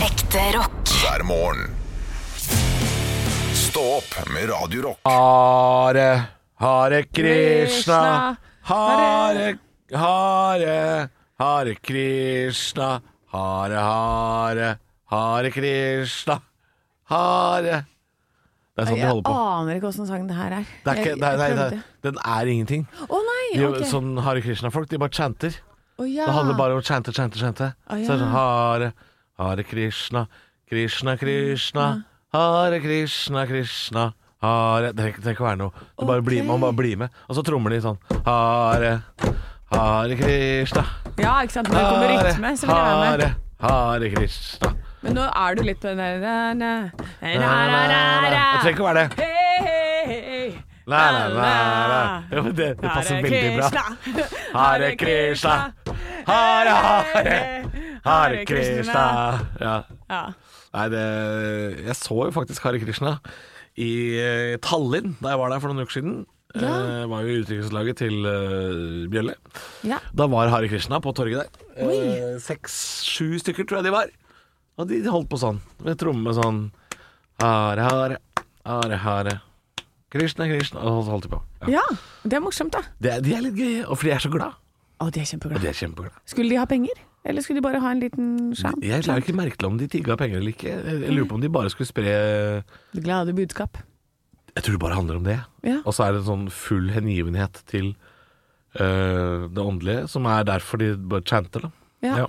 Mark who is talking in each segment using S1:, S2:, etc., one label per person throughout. S1: Ekte rock.
S2: hver morgen. Stå opp med Radio Rock.
S3: Hare, Hare Krishna,
S4: Krishna,
S3: Hare, Hare, Hare Krishna, Hare, Hare, Hare Krishna, Hare Det er sånn de
S4: Jeg
S3: holder på.
S4: aner ikke åssen sangen det her er.
S3: Det er ikke,
S4: Jeg-
S3: nei,
S4: jeg
S3: nei, nei,
S4: prøvde.
S3: den er ingenting.
S4: Å nei!
S3: De,
S4: ok.
S3: Sånn Hare Krishna-folk, de bare chanter.
S4: Å, ja.
S3: Det handler bare om å chante, chante, chante.
S4: Å, ja.
S3: Så er det sånn Hare, Hare Krishna, Krishna, Krishna,
S4: Mm,
S3: Hare Krishna, Krishna, Hare Det trenger trenger ikke å være noe. Det bare blir,
S4: Ok.
S3: man bare blir med. Og så trommer de sånn Hare, Hare Krishna,
S4: Ja, ikke sant. Når det kommer rytme,
S3: Hare,
S4: så vil jeg være med.
S3: Hare, Hare Krishna.
S4: Men nå er du litt på den der na, na, na,
S3: Na, na,
S4: na,
S3: na.
S4: na.
S3: Det trenger ikke å være det.
S4: Hei, hei, hei.
S3: La, la, la, la. Jo, men det, det passer
S4: Hare
S3: veldig bra.
S4: Krishna.
S3: Hare Krishna, Hare Hare, Hare Krishna. Ja.
S4: Ja.
S3: Nei, det, jeg så jo faktisk Hare Krishna i eh, Tallinn da jeg var der for noen uker siden. Ja.
S4: Ja.
S3: var jo i utdrikningslaget til eh, Bjølle.
S4: ja.
S3: Da var Hare Krishna på torget der.
S4: Oi.
S3: Eh, Seks-sju stykker tror jeg de var. Og de holdt på sånn, med tromme sånn Hare, hare, hare, hare. Krishna, Krishna. Og så holdt de på. Ja.
S4: ja. Det er morsomt, da.
S3: Det, de er litt gøye, og fordi de er så glad.
S4: Å, de er
S3: Og
S4: kjempeglade.
S3: de er kjempeglade.
S4: Skulle de ha penger? Eller skulle de bare ha en liten skjerm?
S3: Jeg la ikke merke til om de tigga penger eller ikke. Jeg lurer på om de bare skulle spre
S4: Glade budskap.
S3: Jeg tror det bare handler om det.
S4: Ja.
S3: Og så er det en sånn full hengivenhet til øh, det åndelige, som er derfor de bare chanter, da.
S4: Ja.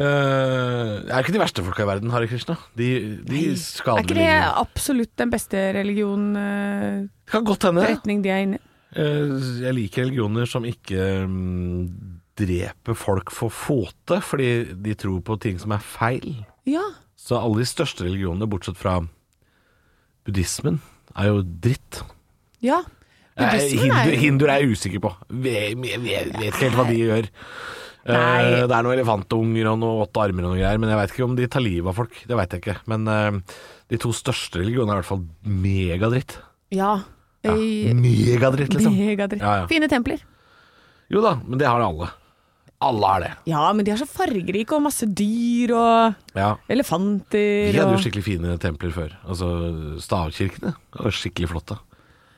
S3: Øh, det er ikke de verste folka i verden, Hare Krishna. De, de
S4: Nei.
S3: skader
S4: Er ikke
S3: vel
S4: det
S3: ingen.
S4: absolutt den beste religion eh,
S3: Det kan godt hende.
S4: retning de er inne i?
S3: Øh, jeg liker religioner som ikke mm, dreper folk for fote, fordi de tror på ting som er feil.
S4: Ja.
S3: Så alle de største religionene, bortsett fra buddhismen, er jo dritt.
S4: ja.
S3: Eh,
S4: Buddhismen er
S3: hindu,
S4: jo-
S3: hinduer er jeg usikker på. Jeg vet ikke helt hva de gjør.
S4: Nei.
S3: Eh, det er noen elefantunger og noen åtte armer og noe greier, men jeg veit ikke om de tar livet av folk. Det veit jeg ikke. Men eh, de to største religionene er i hvert fall megadritt.
S4: Ja.
S3: Ja.
S4: I-
S3: Megadritt, liksom.
S4: Megadritt.
S3: Ja, ja.
S4: Fine templer.
S3: Jo da, men det har alle. Alle har det.
S4: Ja, men de er så fargerike og masse dyr og
S3: Ja. Vi
S4: elefanter
S3: hadde jo
S4: og
S3: skikkelig fine templer før. Altså stavkirkene. Det var skikkelig flotte.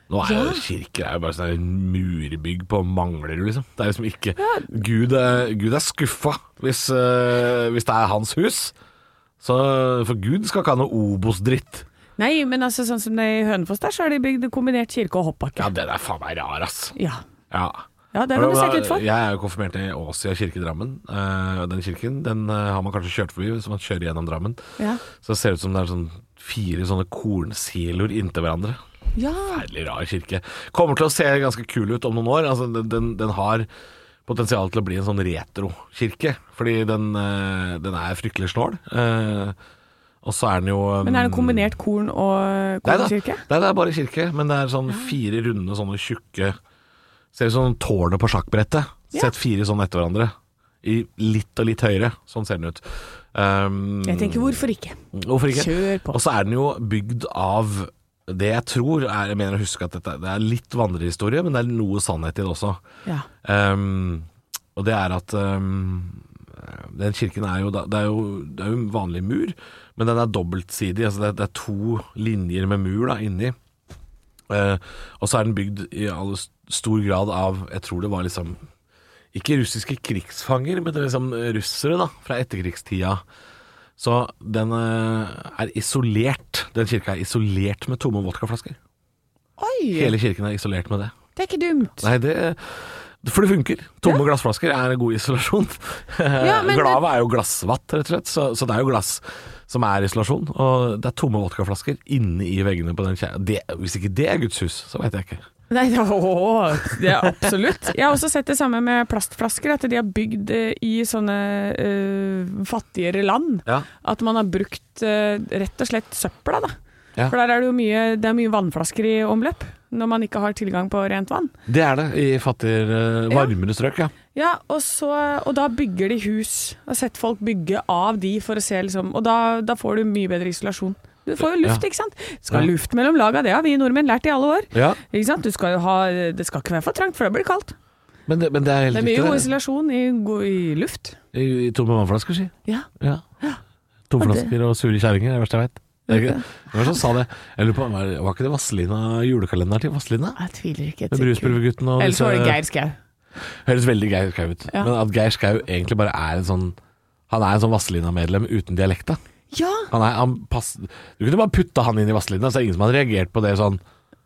S3: Nå er jo kirker er jo bare sånn murbygg på mangler, liksom. Det er liksom ikke Gud er, Gud er skuffa hvis, eh, hvis det er hans hus. Så For Gud skal ikke ha noe Obos-dritt.
S4: Nei, men altså sånn som det er i Hønefoss der, så har de bygd kombinert kirke og hoppbakke.
S3: Ja, det der faen meg rar, ass.
S4: Ja.
S3: Ja.
S4: Ja, det kan du sette ut for.
S3: Jeg er jo konfirmert i Åsia kirke i Drammen. Eh, Den kirken den eh, har man kanskje kjørt forbi hvis man kjører gjennom Drammen.
S4: Ja.
S3: Så det ser ut som det er sånn fire sånne kornsiloer inntil hverandre.
S4: ja.
S3: Forferdelig rar kirke. Kommer til å se ganske kul ut om noen år. Altså, den, den, den har potensial til å bli en sånn retrokirke, fordi den, eh, den er fryktelig snål. Eh, og så er den jo eh,
S4: Men er det kombinert korn
S3: Nei
S4: og
S3: da,
S4: kornkirke?
S3: nei, det er bare kirke, men det er sånn fire runde sånne tjukke Ser ut som tårnet på sjakkbrettet.
S4: Ja.
S3: Sett fire sånn etter hverandre. I litt og litt høyere. Sånn ser den ut. Um,
S4: Jeg tenker hvorfor ikke?
S3: Hvorfor ikke?
S4: Kjør på.
S3: Og så er den jo bygd av det jeg tror er, Jeg mener å huske at dette, det er litt vandrehistorie, men det er noe sannhet i det også.
S4: Ja.
S3: Ehm, og det er at ehm, den kirken er jo, da- det er jo Det er jo en vanlig mur, men den er dobbeltsidig. Altså det, er- det er to linjer med mur da, inni. Eh, og så er den bygd i all s- stor grad av Jeg tror det var liksom Ikke russiske krigsfanger, men det er liksom russere da, fra etterkrigstida. Så den eh, er isolert. Den kirka er isolert med tomme vodkaflasker.
S4: Oi!
S3: Hele kirken er isolert med det.
S4: Det er ikke dumt.
S3: Nei, det For det funker. Tomme glassflasker er en god isolasjon.
S4: men-
S3: Glavet er jo glassvatt, rett og slett, så, så det er jo glass som er isolasjon. Og det er tomme vodkaflasker inne i veggene på den kjæra. Det, hvis ikke det er Guds hus, så veit jeg ikke.
S4: Nei, det, åå, det er absolutt. Jeg har også sett det samme med plastflasker, at de har bygd eh, i sånne eh, fattigere land.
S3: Ja.
S4: At man har brukt eh, rett og slett søpla, da.
S3: Ja.
S4: For der er det jo mye, det er mye vannflasker i omløp, når man ikke har tilgang på rent vann.
S3: Det er det, i fattigere, varmere strøk, ja.
S4: Ja, og, så, og da bygger de hus. Jeg har sett folk bygge av de for å se, liksom. Og da, da får du mye bedre isolasjon. Du får jo luft,
S3: Ja.
S4: ikke sant. Skal
S3: Ja.
S4: luft mellom laga, det har vi nordmenn lært i alle år.
S3: Ja,
S4: Ikke sant? Du skal jo ha, det skal ikke være for trangt, for da blir det kaldt.
S3: Men det, men det er helt
S4: Det er mye god
S3: riktig.
S4: isolasjon i, go- i luft.
S3: det. I, I tomme vannflasker, si.
S4: Ja.
S3: Ja. Tomflasker og sure kjerringer er det verste jeg vet. Det er ikke- Hvem var det som sa det? Jeg lurer på, var var ikke det Vazelina julekalenderen til Vazelina?
S4: Jeg tviler ikke.
S3: Med Bruspulvergutten og
S4: Ellers
S3: disse-
S4: var det Geir Skau.
S3: Høres veldig Geir Skau ut.
S4: Ja.
S3: Men at Geir Skau egentlig bare er en sånn Han er en sånn Vazelina-medlem uten dialekta.
S4: Ja!
S3: Han er, han pass, du kunne bare putta han inn i Vazelina, så det er ingen som hadde reagert på det sånn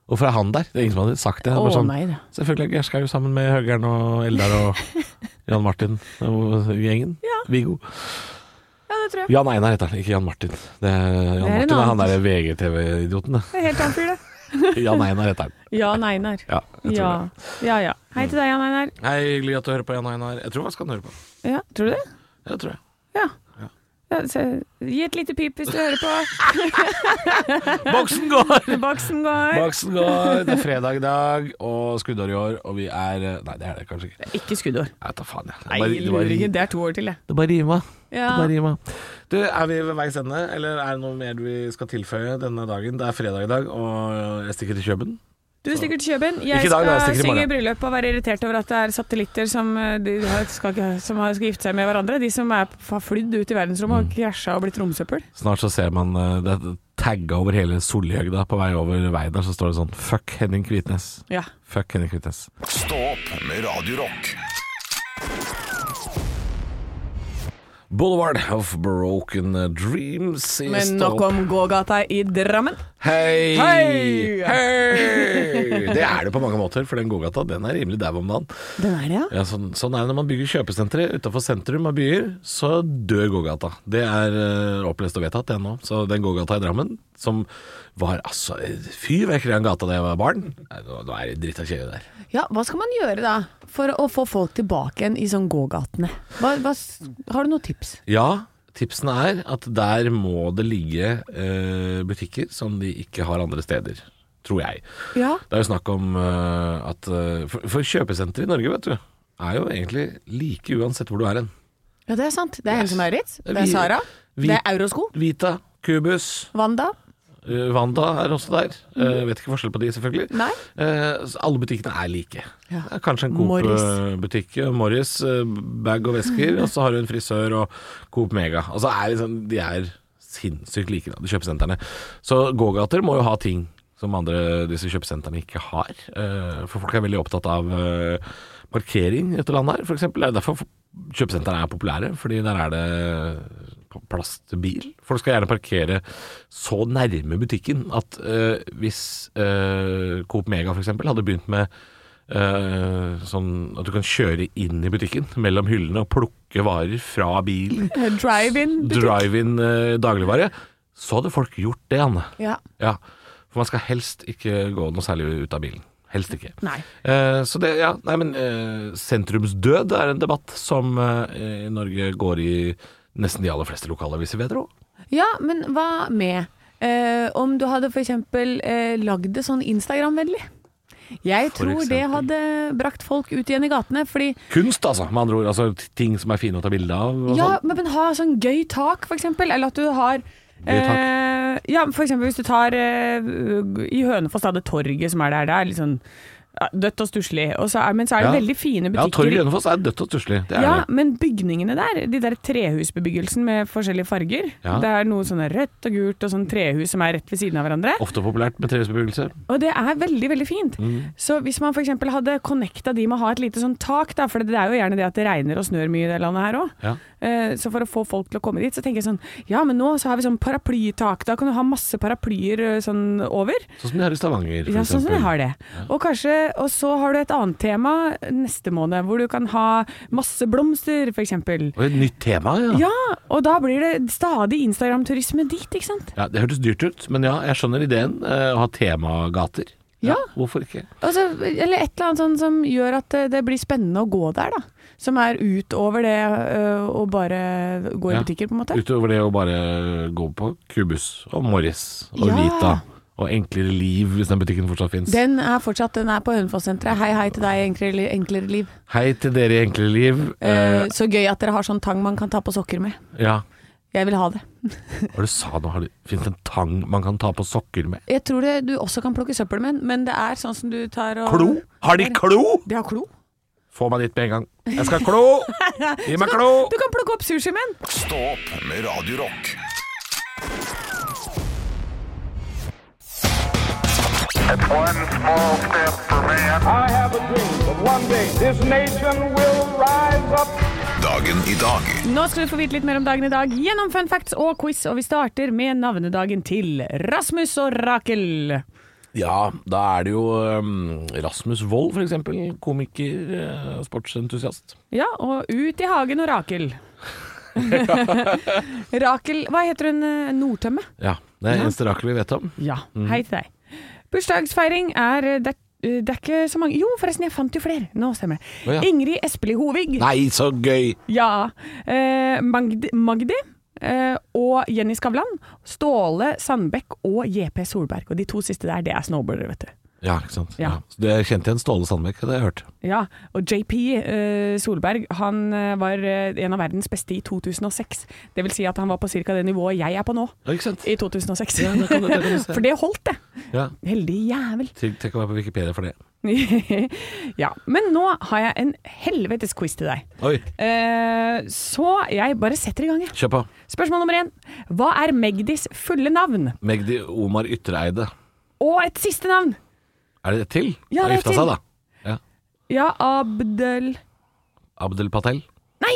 S3: Hvorfor er han der? Det er ingen som hadde sagt det. det
S4: Å
S3: er bare sånn,
S4: nei da.
S3: Selvfølgelig er Geir Skau sammen med Høgern og Eldar og Jan Martin og gjengen. Viggo.
S4: Ja, det tror jeg.
S3: Jan Einar heter han, ikke Jan Martin. Det er, Jan
S4: en
S3: Martin er han
S4: annen.
S3: derre VGTV-idioten.
S4: Det er helt annen fyr, det.
S3: det. Jan Einar heter han.
S4: Jan Einar.
S3: Ja, jeg tror
S4: Ja.
S3: det.
S4: ja ja. Hei til deg, Jan Einar.
S3: Hei, hyggelig at du hører på Jan Einar. Jeg tror faktisk han hører på.
S4: Ja, tror du det?
S3: Ja, det tror jeg.
S4: Ja. ja så, gi et lite pip hvis du hører på.
S3: Boksen går!
S4: Baksen går.
S3: Baksen går, det er fredag i dag, og skuddår i år, og vi er eh, Nei, det er det kanskje ikke.
S4: Ikke skuddår.
S3: Jeg vet da faen, jeg. Det
S4: Nei,
S3: bare- det bare-
S4: luringen. Det er to år til, det.
S3: Det bare rima.
S4: Ja.
S3: Det bare rima. Du, er vi ved veis ende, eller er det noe mer vi skal tilføye denne dagen? Det er fredag i dag, og jeg stikker til Køben.
S4: Du stikker til Kjøben.
S3: Ikke
S4: Jeg
S3: i dag, da. Jeg
S4: skal
S3: stikker i
S4: synge i
S3: morgen.
S4: bryllup og være irritert over at det er satellitter som, eh, de har- skal, ikke- som har- skal gifte seg med hverandre. De som er, har flydd ut i verdensrommet
S3: Mm.
S4: og krasja og blitt romsøppel.
S3: Snart så ser man eh, det er tagga over hele Solhjøgda på vei over veien der, så står det sånn Fuck Henning Kvitnes.
S4: Ja.
S3: Fuck Henning Kvitnes.
S2: Stå opp med Radio Rock.
S3: Boulevard of Broken Dreams i
S4: Men
S3: Stå
S4: nok om gågata i Drammen.
S3: Hei!
S4: Hei!
S3: Hei! Det er det på mange måter, for den gågata den er rimelig dau om dagen.
S4: Den er det, ja.
S3: Ja, sånn, sånn er det når man bygger kjøpesentre utenfor sentrum av byer, så dør gågata. Det er eh, opplest og vedtatt, det nå. Så den gågata i Drammen, som var altså eh, fyrverkeri av en gata da jeg var barn Nei, Nå, nå er det dritt av kjede der.
S4: Ja, Hva skal man gjøre da for å få folk tilbake igjen i sånn gågatene? Hva, hva, s- har du noen tips?
S3: Ja, tipsene er at der må det ligge eh, butikker som de ikke har andre steder. Tror jeg.
S4: Ja.
S3: Det er jo snakk om eh, at eh, For, for kjøpesentre i Norge, vet du, er jo egentlig like uansett hvor du er hen.
S4: ja, det er sant. Det er Hennes og Maurits. Det er
S3: Vi-
S4: Sara.
S3: vi-
S4: Det er Eurosko.
S3: Vita, Cubus,
S4: Wanda.
S3: Eh, Wanda er også der. Eh, vet ikke forskjell på de, selvfølgelig.
S4: Nei.
S3: Eh, så alle butikkene er like.
S4: Ja.
S3: Det er Kanskje en
S4: Morris.
S3: Coop-butikk. Morris, eh, bag og vesker, og så har du en frisør og Coop Mega. Altså er liksom, De er sinnssykt like, da, de kjøpesentrene. Så gågater må jo ha ting som andre disse kjøpesentrene ikke har. Eh, for folk er veldig opptatt av eh, parkering i dette landet her, f.eks. Det er derfor kjøpesentrene er populære, fordi der er det p- plass til bil. Folk skal gjerne parkere så nærme butikken at eh, hvis eh, Coop Mega f.eks. hadde begynt med eh, sånn at du kan kjøre inn i butikken mellom hyllene og plukke varer fra bilen,
S4: Drive-in.
S3: drive-in eh, dagligvare, så hadde folk gjort det, Anne.
S4: Ja.
S3: Ja, for man skal helst ikke gå noe særlig ut av bilen. Helst ikke.
S4: Nei.
S3: Eh, så det, ja, nei, men eh, sentrumsdød er en debatt som eh, i Norge går i nesten de aller fleste lokalaviser, vil jeg tro.
S4: Ja, men hva med eh, om du hadde for eksempel eh, lagd det sånn Instagram-vennlig? Jeg
S3: For
S4: tror det
S3: eksempel.
S4: hadde brakt folk ut igjen i gatene, fordi
S3: Kunst, altså, med andre ord. Altså, t- ting som er fine å ta bilde av. Og
S4: Ja,
S3: sånn.
S4: men, men ha sånn gøy tak, for eksempel, eller at du har
S3: Gøy tak.
S4: eh, ja, for eksempel hvis du tar eh, i Hønefoss, da, det torget som er der, det er litt sånn ja, dødt og stusslig, og så er, men så er det
S3: Ja.
S4: veldig fine
S3: ja,
S4: butikker.
S3: Torget i Hønefoss er dødt og stusslig. Det er
S4: Ja,
S3: det.
S4: men bygningene der, de der trehusbebyggelsen med forskjellige farger,
S3: Ja.
S4: det er noe sånn rødt og gult og sånn trehus som er rett ved siden av hverandre.
S3: Ofte populært med trehusbebyggelse.
S4: Og det er veldig, veldig fint. Så hvis man f.eks. hadde connecta de med å ha et lite sånn tak, da, for det er jo gjerne det at det regner og snør mye i det landet her òg.
S3: Ja.
S4: Så for å få folk til å komme dit, så tenker jeg sånn Ja, men nå så har vi sånn paraplytak. Da kan du ha masse paraplyer eh, sånn over.
S3: Sånn som de har i Stavanger, for
S4: Ja, sånn som
S3: eksempel.
S4: jeg har det. Og kanskje, og så har du et annet tema neste måned, hvor du kan ha masse blomster, f.eks.
S3: Og et nytt tema, ja.
S4: Ja, og da blir det stadig Instagram-turisme dit, ikke sant.
S3: Ja, Det hørtes dyrt ut, men ja, jeg skjønner ideen. eh, å ha temagater.
S4: Ja.
S3: Hvorfor ikke?
S4: Altså, eller et eller annet sånn som gjør at det, det blir spennende å gå der, da. Som er utover det øh, å bare gå i
S3: Ja.
S4: butikker, på en måte.
S3: Utover det å bare gå på Cubus og Morris og
S4: Ja.
S3: Vita og Enklere Liv, hvis den butikken fortsatt fins.
S4: Den er fortsatt den er på Hønefoss-senteret. Hei, hei til deg, Enklere, enklere liv.
S3: Hei til dere i Enklere Liv.
S4: Eh,
S3: Eh,
S4: så gøy at dere har sånn tang man kan ta på sokker med.
S3: ja,
S4: Jeg vil ha det.
S3: hva er det du sa nå? Har du- Finnes det en tang man kan ta på sokker med?
S4: Jeg tror det, du også kan plukke søppel med, den, men det er sånn som du tar og
S3: Klo? Har de klo?
S4: De har klo.
S3: Få meg dit med en gang. Jeg skal ha klo! Gi meg klo!
S4: Du kan plukke opp sushi med den!
S2: Stå opp med Radio Rock.
S1: It's one small step for man.
S5: I have a dream that one day this nation will rise up.
S2: Dagen i dag
S4: Nå skal du få vite litt mer om dagen i dag gjennom fun facts og quiz, og vi starter med navnedagen til Rasmus og Rakel.
S3: Ja, da er det jo um, Rasmus Wold, for eksempel. Komiker, eh, sportsentusiast.
S4: Ja, og ut i hagen og Rakel. Rakel Hva heter hun? eh, Nordtømme?
S3: Ja, det er eneste Rakel vi vet om.
S4: Ja. Hei til deg. Bursdagsfeiring er eh, det, eh, det er ikke så mange Jo, forresten, jeg fant jo flere. Nå stemmer det.
S3: Å, ja.
S4: Ingrid Espelid Hovig.
S3: Nei, så gøy!
S4: Ja. Eh, Magdi, Magdi eh, og Jenny Skavlan. Ståle Sandbekk og JP Solberg. Og de to siste der, det er snowboardere, vet du.
S3: Ja, ikke sant.
S4: Ja.
S3: Ja. Så Du kjente igjen Ståle Sandbekk, det har jeg hørt.
S4: Ja, og JP eh, Solberg han eh, var eh, en av verdens beste i 2006. Det vil si at han var på ca. det nivået jeg er på nå,
S3: Ja, ikke sant?
S4: i 2006.
S3: Ja, det kan du- det kan du se.
S4: For det holdt, det.
S3: Ja.
S4: Heldig jævel.
S3: Tenk tenk å være på Wikipedia for det.
S4: ja, men nå har jeg en helvetes quiz til deg.
S3: Oi,
S4: Eh, så jeg bare setter i gang, jeg.
S3: kjør på.
S4: Spørsmål nummer én. Hva er Magdis fulle navn?
S3: Magdi Omar Ytreide.
S4: Og et siste navn.
S3: Er det et til?
S4: Ja,
S3: Har
S4: det er
S3: gifta
S4: til.
S3: seg, da.
S4: Ja, Abdel...
S3: Abdel Patel.
S4: Nei!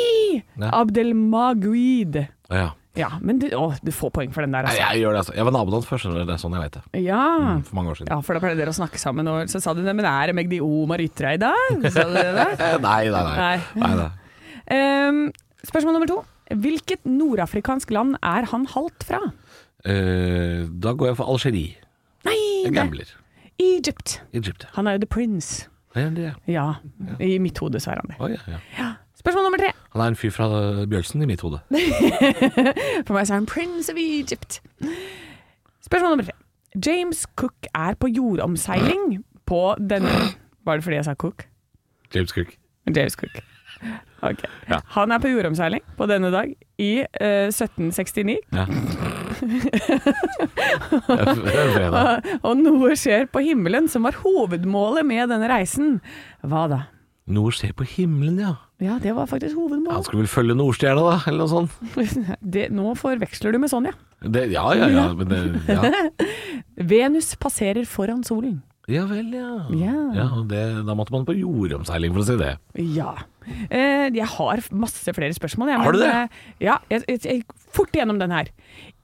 S3: Nei.
S4: Abdel Maguid.
S3: Å, Ja.
S4: Ja, men du, å, du får poeng for den der,
S3: Nei,
S4: altså.
S3: jeg gjør det, altså. Jeg var naboen hans først, skjønner du. Det er sånn jeg veit det.
S4: Ja.
S3: For mange år siden.
S4: Mm. Ja, for da pleide dere å snakke sammen, og så sa du det, men er det Magdi Omar Ytrei da? Sa du det?
S3: Eh, Nei, nei, nei.
S4: Nei.
S3: nei, nei.
S4: Ehm, spørsmål nummer to. Hvilket nordafrikansk land er han halvt fra?
S3: Eh, da går jeg for Algerie.
S4: Nei,
S3: Jeg
S4: det
S3: gambler.
S4: Egypt.
S3: Egypt.
S4: Han er jo the prince.
S3: Ja, det er-
S4: Ja, i mitt hode så er han det.
S3: Å, ja, ja.
S4: Spørsmål nummer tre.
S3: Han er en fyr fra eh, Bjølsen i mitt hode.
S4: For meg så er han prince of Egypt. Spørsmål nummer tre. James Cook er på jordomseiling på denne Var det fordi jeg sa Cook?
S3: James Cook.
S4: James Cook. Ok.
S3: Ja.
S4: Han er på jordomseiling på denne dag i eh, 1769,
S3: Ja. Det er fredag.
S4: og noe skjer på himmelen som var hovedmålet med denne reisen. Hva da?
S3: Noe skjer på himmelen, ja.
S4: Ja, det var faktisk
S3: Han
S4: hovedmålet.
S3: skulle vel følge Nordstjerna, da, eller noe sånt.
S4: Det, nå forveksler du med Sonja.
S3: Det, ja, ja, ja, men det, ja.
S4: Venus passerer foran solen.
S3: ja vel, ja.
S4: Ja.
S3: og det, da måtte man på jordomseiling for å si det.
S4: Ja. Eh, jeg har masse flere spørsmål. Jeg,
S3: Har du det?
S4: eh, ja, jeg, jeg, jeg fort gjennom den her.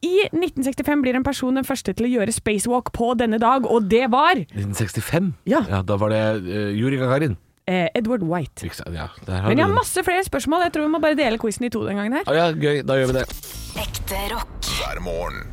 S4: I 1965 blir en person den første til å gjøre spacewalk på denne dag, og det var
S3: 1965?
S4: Ja.
S3: Da var det eh, Yuri Gagarin.
S4: eh, Edward White.
S3: Ikke sant? Ja, der har
S4: Men jeg
S3: du
S4: har
S3: den.
S4: masse flere spørsmål. Jeg tror vi må bare dele quizen i to den gangen her.
S3: Å, ja, gøy, da gjør vi det.
S6: Ekte rock.
S2: hver morgen.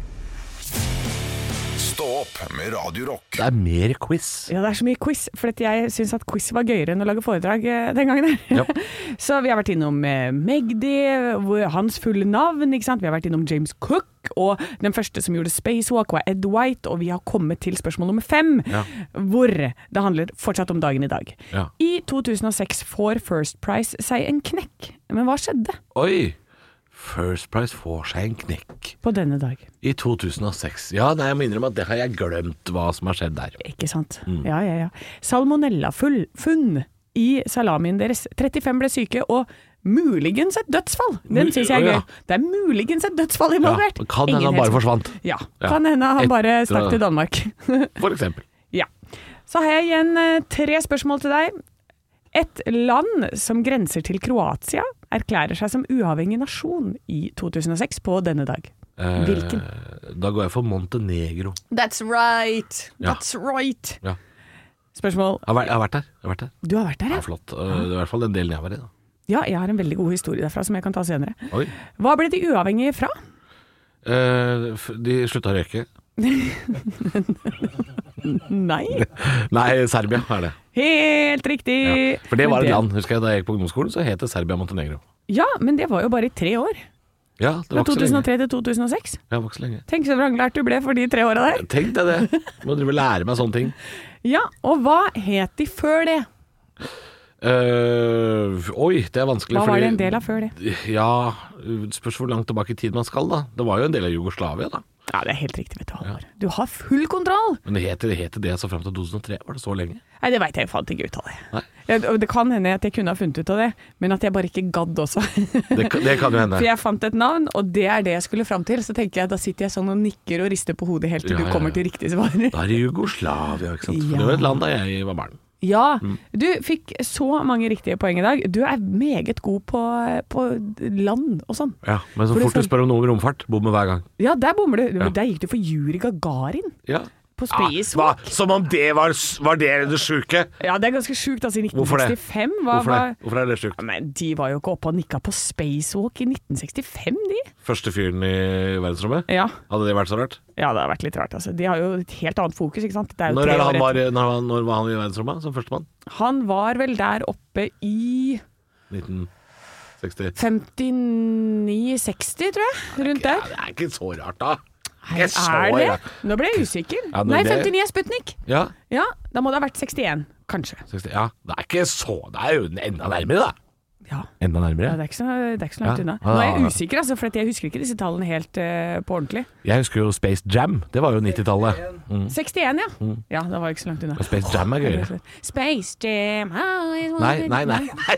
S2: Stå opp med Radio Rock.
S3: Det er mer quiz.
S4: Ja, det er så mye quiz, for at jeg syns at quiz var gøyere enn å lage foredrag eh, den gangen. her.
S3: Ja.
S4: så vi har vært innom eh, Magdi, hvor- hans fulle navn, ikke sant. Vi har vært innom James Cook, og den første som gjorde spacewalk var Ed White, og vi har kommet til spørsmål nummer fem,
S3: Ja.
S4: hvor det handler fortsatt om dagen i dag.
S3: Ja.
S4: I 2006 får First Price seg en knekk, men hva skjedde
S3: Oi! First Price får seg en knekk
S4: på denne dag?
S3: i 2006. Ja, nei, jeg må innrømme at det har jeg glemt hva som har skjedd der.
S4: Ikke sant?
S3: Mm.
S4: Ja, ja, ja. Salmonellafunn i salamien deres. 35 ble syke, og muligens et dødsfall. Den
S3: Mu-
S4: syns jeg er
S3: å, ja.
S4: gøy. Det er muligens et dødsfall
S3: Ja,
S4: involvert.
S3: kan hende
S4: Ingen
S3: han bare
S4: helt-
S3: forsvant,
S4: Ja,
S3: Ja.
S4: kan hende han
S3: Etter-
S4: bare stakk til Danmark.
S3: for eksempel.
S4: ja. Så har jeg igjen eh, tre spørsmål til deg. Et land som grenser til Kroatia, erklærer seg som uavhengig nasjon i 2006 på denne dag.
S3: Eh,
S4: Hvilken?
S3: Da går jeg for Montenegro.
S4: That's right!
S3: Ja.
S4: That's right!
S3: Ja.
S4: Spørsmål.
S3: Jeg har vært, jeg har vært der. Jeg har vært der.
S4: Du har vært der,
S3: Det
S4: ja?
S3: er flott. Eh, Det er i hvert fall den delen jeg var i. Da.
S4: Ja, jeg har en veldig god historie derfra som jeg kan ta senere.
S3: Oi.
S4: Hva ble de uavhengige fra?
S3: Eh, f- de slutta å røyke.
S4: Nei,
S3: Nei, Serbia er det.
S4: helt riktig!
S3: Ja. For det var et land. Husker jeg Da jeg gikk på ungdomsskolen, så het det Serbia Montenegro.
S4: Ja, men det var jo bare i tre år.
S3: Ja, det
S4: Fra
S3: var ikke så lenge.
S4: 2003 til 2006.
S3: Ja, det var ikke så lenge.
S4: Tenk så vranglært du ble for de tre åra der.
S3: Tenk deg det. Må drive og lære meg sånne ting.
S4: Ja, og hva het de før det?
S3: Eh, oi, det er vanskelig.
S4: Hva var
S3: fordi-
S4: det en del av før det?
S3: Ja, det spørs hvor langt tilbake i tid man skal, da. Det var jo en del av Jugoslavia, da.
S4: Ja, det er helt riktig, vet du. Halvor. Du har full kontroll!
S3: Men det het det, het det altså fram til 2003. Var det så lenge?
S4: Nei, det veit jeg jo faen ikke uttale.
S3: Nei.
S4: Ja, og det kan hende at jeg kunne ha funnet ut av det, men at jeg bare ikke gadd også.
S3: Det, kan- det kan jo hende.
S4: For jeg fant et navn, og det er det jeg skulle fram til. Så tenker jeg, da sitter jeg sånn og nikker og rister på hodet helt til
S3: Ja, ja,
S4: du kommer
S3: ja.
S4: til riktig svar.
S3: Da er det Jugoslavia, ikke sant. For
S4: Ja.
S3: Det var et land da jeg var barn.
S4: Ja,
S3: Mm.
S4: du fikk så mange riktige poeng i dag. Du er meget god på, på land og sånn.
S3: Ja, Men så
S4: For det
S3: fort du
S4: skal-
S3: spør om noe om romfart, bommer hver gang.
S4: Ja, der bommer du.
S3: Ja.
S4: Der gikk du for Juri Gagarin
S3: Ja.
S4: på
S3: Ah,
S4: Spacewalk.
S3: hva? som om det var, var det det sjuke!
S4: Ja, det er ganske sjukt, altså. I
S3: Hvorfor det?
S4: 1965 var,
S3: Hvorfor det? Hvorfor er det sjukt?
S4: var Men de var jo ikke oppe og nikka på Spacewalk i 1965, de.
S3: Første fyren i verdensrommet?
S4: Ja.
S3: Hadde det vært så rart?
S4: ja, det har vært litt rart, altså. De har jo et helt annet fokus, ikke sant. Det er jo
S3: Når,
S4: tre
S3: er det
S4: år
S3: han var,
S4: etter.
S3: når, var- når var han i verdensrommet som førstemann?
S4: han var vel der oppe i
S3: 1960.
S4: 59-60, tror jeg. Rundt
S3: Ja,
S4: der.
S3: det er ikke så rart, da.
S4: Nei,
S3: Jeg så
S4: er det?
S3: ja.
S4: Nå ble jeg usikker.
S3: Ja, nå
S4: Nei,
S3: ble jeg-
S4: 59 er Sputnik.
S3: Ja,
S4: Ja, da må det ha vært 61, kanskje.
S3: 60, ja. Det er ikke så Det er jo enda nærmere, da.
S4: Ja,
S3: Enda
S4: ja
S3: nærmere?
S4: det, er ikke så, det er ikke så langt
S3: Ja. Ah.
S4: unna.
S3: Ja,
S4: Nå er
S3: ja, ja.
S4: jeg usikker, altså, for at jeg husker ikke disse tallene helt eh, på ordentlig.
S3: Jeg husker jo Space Jam. Det var jo 90-tallet.
S4: 61, ja.
S3: Mm.
S4: Ja, da var jeg ikke så langt unna.
S3: Men Space Jam er gøyere.
S4: Space Jam I wanna
S3: Nei,
S4: be-
S3: nei, nei. Nei! Nei!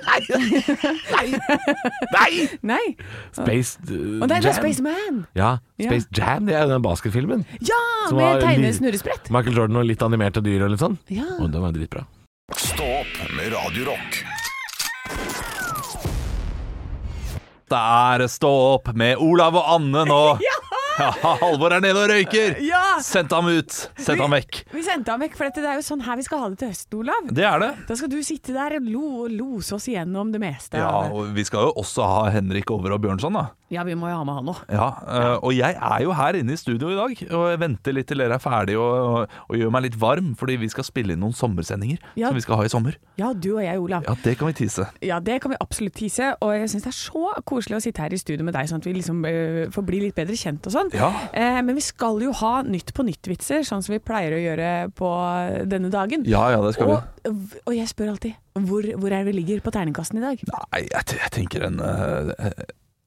S3: nei. nei.
S4: Nei.
S3: Space uh,
S4: Og det er da
S3: Jam.
S4: Spaceman!
S3: Ja,
S4: Ja.
S3: Space Jam, det er jo den basketfilmen.
S4: Ja,
S3: Som var
S4: med tegne
S3: litt-
S4: snurresprett.
S3: Michael Jordan og litt animerte dyr og litt sånn.
S4: Ja.
S3: Og den var dritbra.
S2: Stå opp med Radio Rock.
S6: Det er Stå opp med Olav og Anne nå. Ja, Halvor er nede og røyker.
S4: Ja!
S6: Sendt ham ut. Sendt ham vekk.
S4: Vi sendte ham vekk, for dette, det er jo sånn her vi skal ha det til høsten, Olav.
S6: Det er det.
S4: Da skal du sitte der og lo, lose oss igjennom det meste.
S6: Ja,
S4: av det.
S6: og Vi skal jo også ha Henrik Over og Bjørnson, da.
S4: ja, vi må jo ha med han òg.
S6: Ja, eh, Og jeg er jo her inne i studio i dag og jeg venter litt til dere er ferdige og, og, og gjør meg litt varm, fordi vi skal spille inn noen sommersendinger
S4: Ja.
S6: som vi skal ha i sommer.
S4: Ja, du og jeg, Olav.
S6: Ja, det kan vi tise.
S4: Ja, det kan vi absolutt tise, og jeg syns det er så koselig å sitte her i studio med deg, sånn at vi liksom øh, får bli litt bedre kjent og sånn.
S6: Ja.
S4: Eh, men vi skal jo ha Nytt på nytt-vitser, sånn som vi pleier å gjøre på denne dagen.
S6: Ja, ja, det skal vi.
S4: og, v- og jeg spør alltid hvor, hvor er det vi ligger på terningkasten i dag?
S6: Nei, jeg, t- jeg tenker en, eh,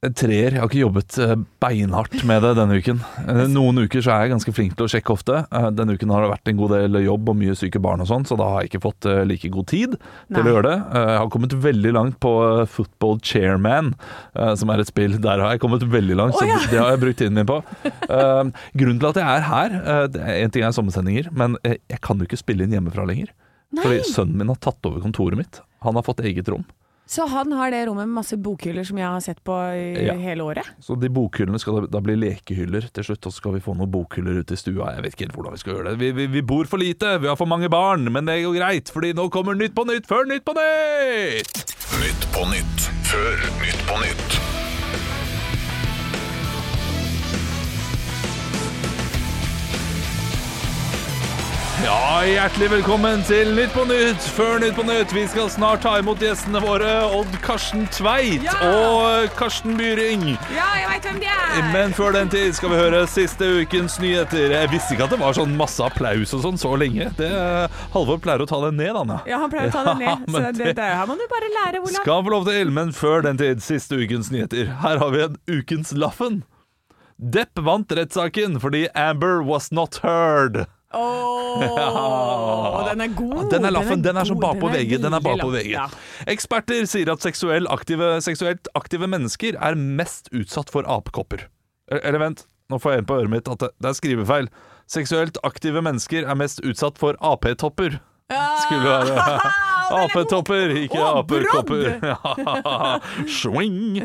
S6: en treer. Jeg har ikke jobbet eh, beinhardt med det denne uken. Eh, Noen uker så er jeg ganske flink til å sjekke ofte. Eh, Denne uken har det vært en god del jobb og mye syke barn og sånn, så da har jeg ikke fått eh, like god tid til
S4: Nei.
S6: å gjøre det. Eh, Jeg har kommet veldig langt på eh, Football Chairman, eh, som er et spill. Der har jeg kommet veldig langt,
S4: Å,
S6: så
S4: ja.
S6: det har jeg brukt tiden min på. Eh, Grunnen til at jeg er her, eh, det er- en ting er sommersendinger, men eh, jeg kan jo ikke spille inn hjemmefra lenger. Fordi sønnen min har tatt over kontoret mitt. Han har fått eget rom.
S4: Så han har det rommet med masse bokhyller som jeg har sett på i
S6: Ja.
S4: hele året?
S6: Så de bokhyllene skal da, da bli lekehyller til slutt, og så skal vi få noen bokhyller ut i stua. Jeg vet ikke helt hvordan vi skal gjøre det. Vi, vi, vi bor for lite, vi har for mange barn, men det er jo greit, fordi nå kommer Nytt på Nytt før Nytt på Nytt!
S2: Nytt på nytt før Nytt på nytt.
S6: Ja, hjertelig velkommen til Nytt på Nytt før Nytt på Nytt. Vi skal snart ta imot gjestene våre, Odd Karsten Tveit
S4: Ja!
S6: og Karsten Byring.
S4: Ja, jeg veit hvem de er!
S6: Men før den tid skal vi høre siste ukens nyheter. Jeg visste ikke at det var sånn masse applaus og sånn så lenge. Det, eh, Halvor pleier å ta den ned, Anna.
S4: Ja, han pleier å ta det
S6: Ja,
S4: ned, så
S6: men
S4: det, det, her må du bare lære, Olav.
S6: Skal få lov til, men før den tid, siste ukens nyheter. Her har vi en ukens Laffen. Depp vant rettssaken fordi Amber was not heard.
S4: Ååå, den er god!
S6: Oh, Den er laffen. Den er sånn som
S4: god,
S6: bakpå VG. Den er
S4: veldig laff.
S6: bakpå VG.
S4: Ja.
S6: Eksperter sier at seksuell aktive, seksuelt aktive mennesker er mest utsatt for apekopper. Eller- Eller vent, nå får jeg inn på øret mitt at det det er skrivefeil. Seksuelt aktive mennesker er mest utsatt for AP-topper. Skulle være Apetopper, ikke
S4: Å,
S6: apekopper. Ja. Swing!